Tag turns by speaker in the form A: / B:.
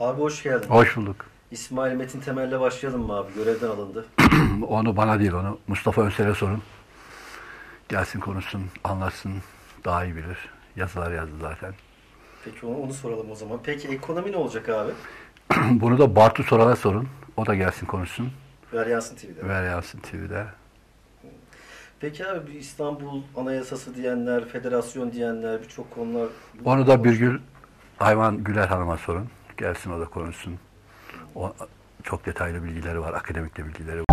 A: Abi hoş geldin.
B: Hoş bulduk.
A: İsmail Metin Temel'le başlayalım mı abi? Görevden alındı.
B: Onu bana değil, onu Mustafa Önsel'e sorun. Gelsin konuşsun, anlatsın, daha iyi bilir. Yazılar yazdı zaten.
A: Peki onu, onu soralım o zaman. Peki ekonomi ne olacak abi?
B: Bunu da Bartu Soran'a sorun. O da gelsin konuşsun.
A: Veryansın TV'de.
B: Ver yansın TV'de.
A: Peki abi bir İstanbul Anayasası diyenler, federasyon diyenler birçok konular...
B: Onu da Birgül Hayvan Güler Hanım'a sorun. Gelsin o da konuşsun. O, çok detaylı bilgileri var, akademik de bilgileri